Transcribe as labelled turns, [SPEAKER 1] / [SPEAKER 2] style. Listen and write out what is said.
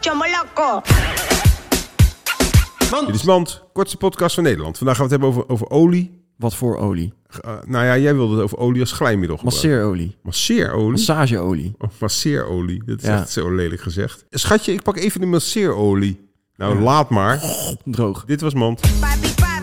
[SPEAKER 1] Chomoloco.
[SPEAKER 2] Dit is Mand, kortste podcast van Nederland. Vandaag gaan we het hebben over, over olie.
[SPEAKER 3] Wat voor olie?
[SPEAKER 2] Eh, nou ja, jij wilde het over olie als glijmiddel gebruiken.
[SPEAKER 3] Masseerolie.
[SPEAKER 2] Masseerolie?
[SPEAKER 3] Massageolie.
[SPEAKER 2] Oh, masseerolie. Dat is
[SPEAKER 3] Ja.
[SPEAKER 2] echt zo lelijk gezegd. Schatje, ik pak even de masseerolie. Nou, laat maar.
[SPEAKER 3] Droog.
[SPEAKER 2] Dit was Mand.
[SPEAKER 1] Papi, papi.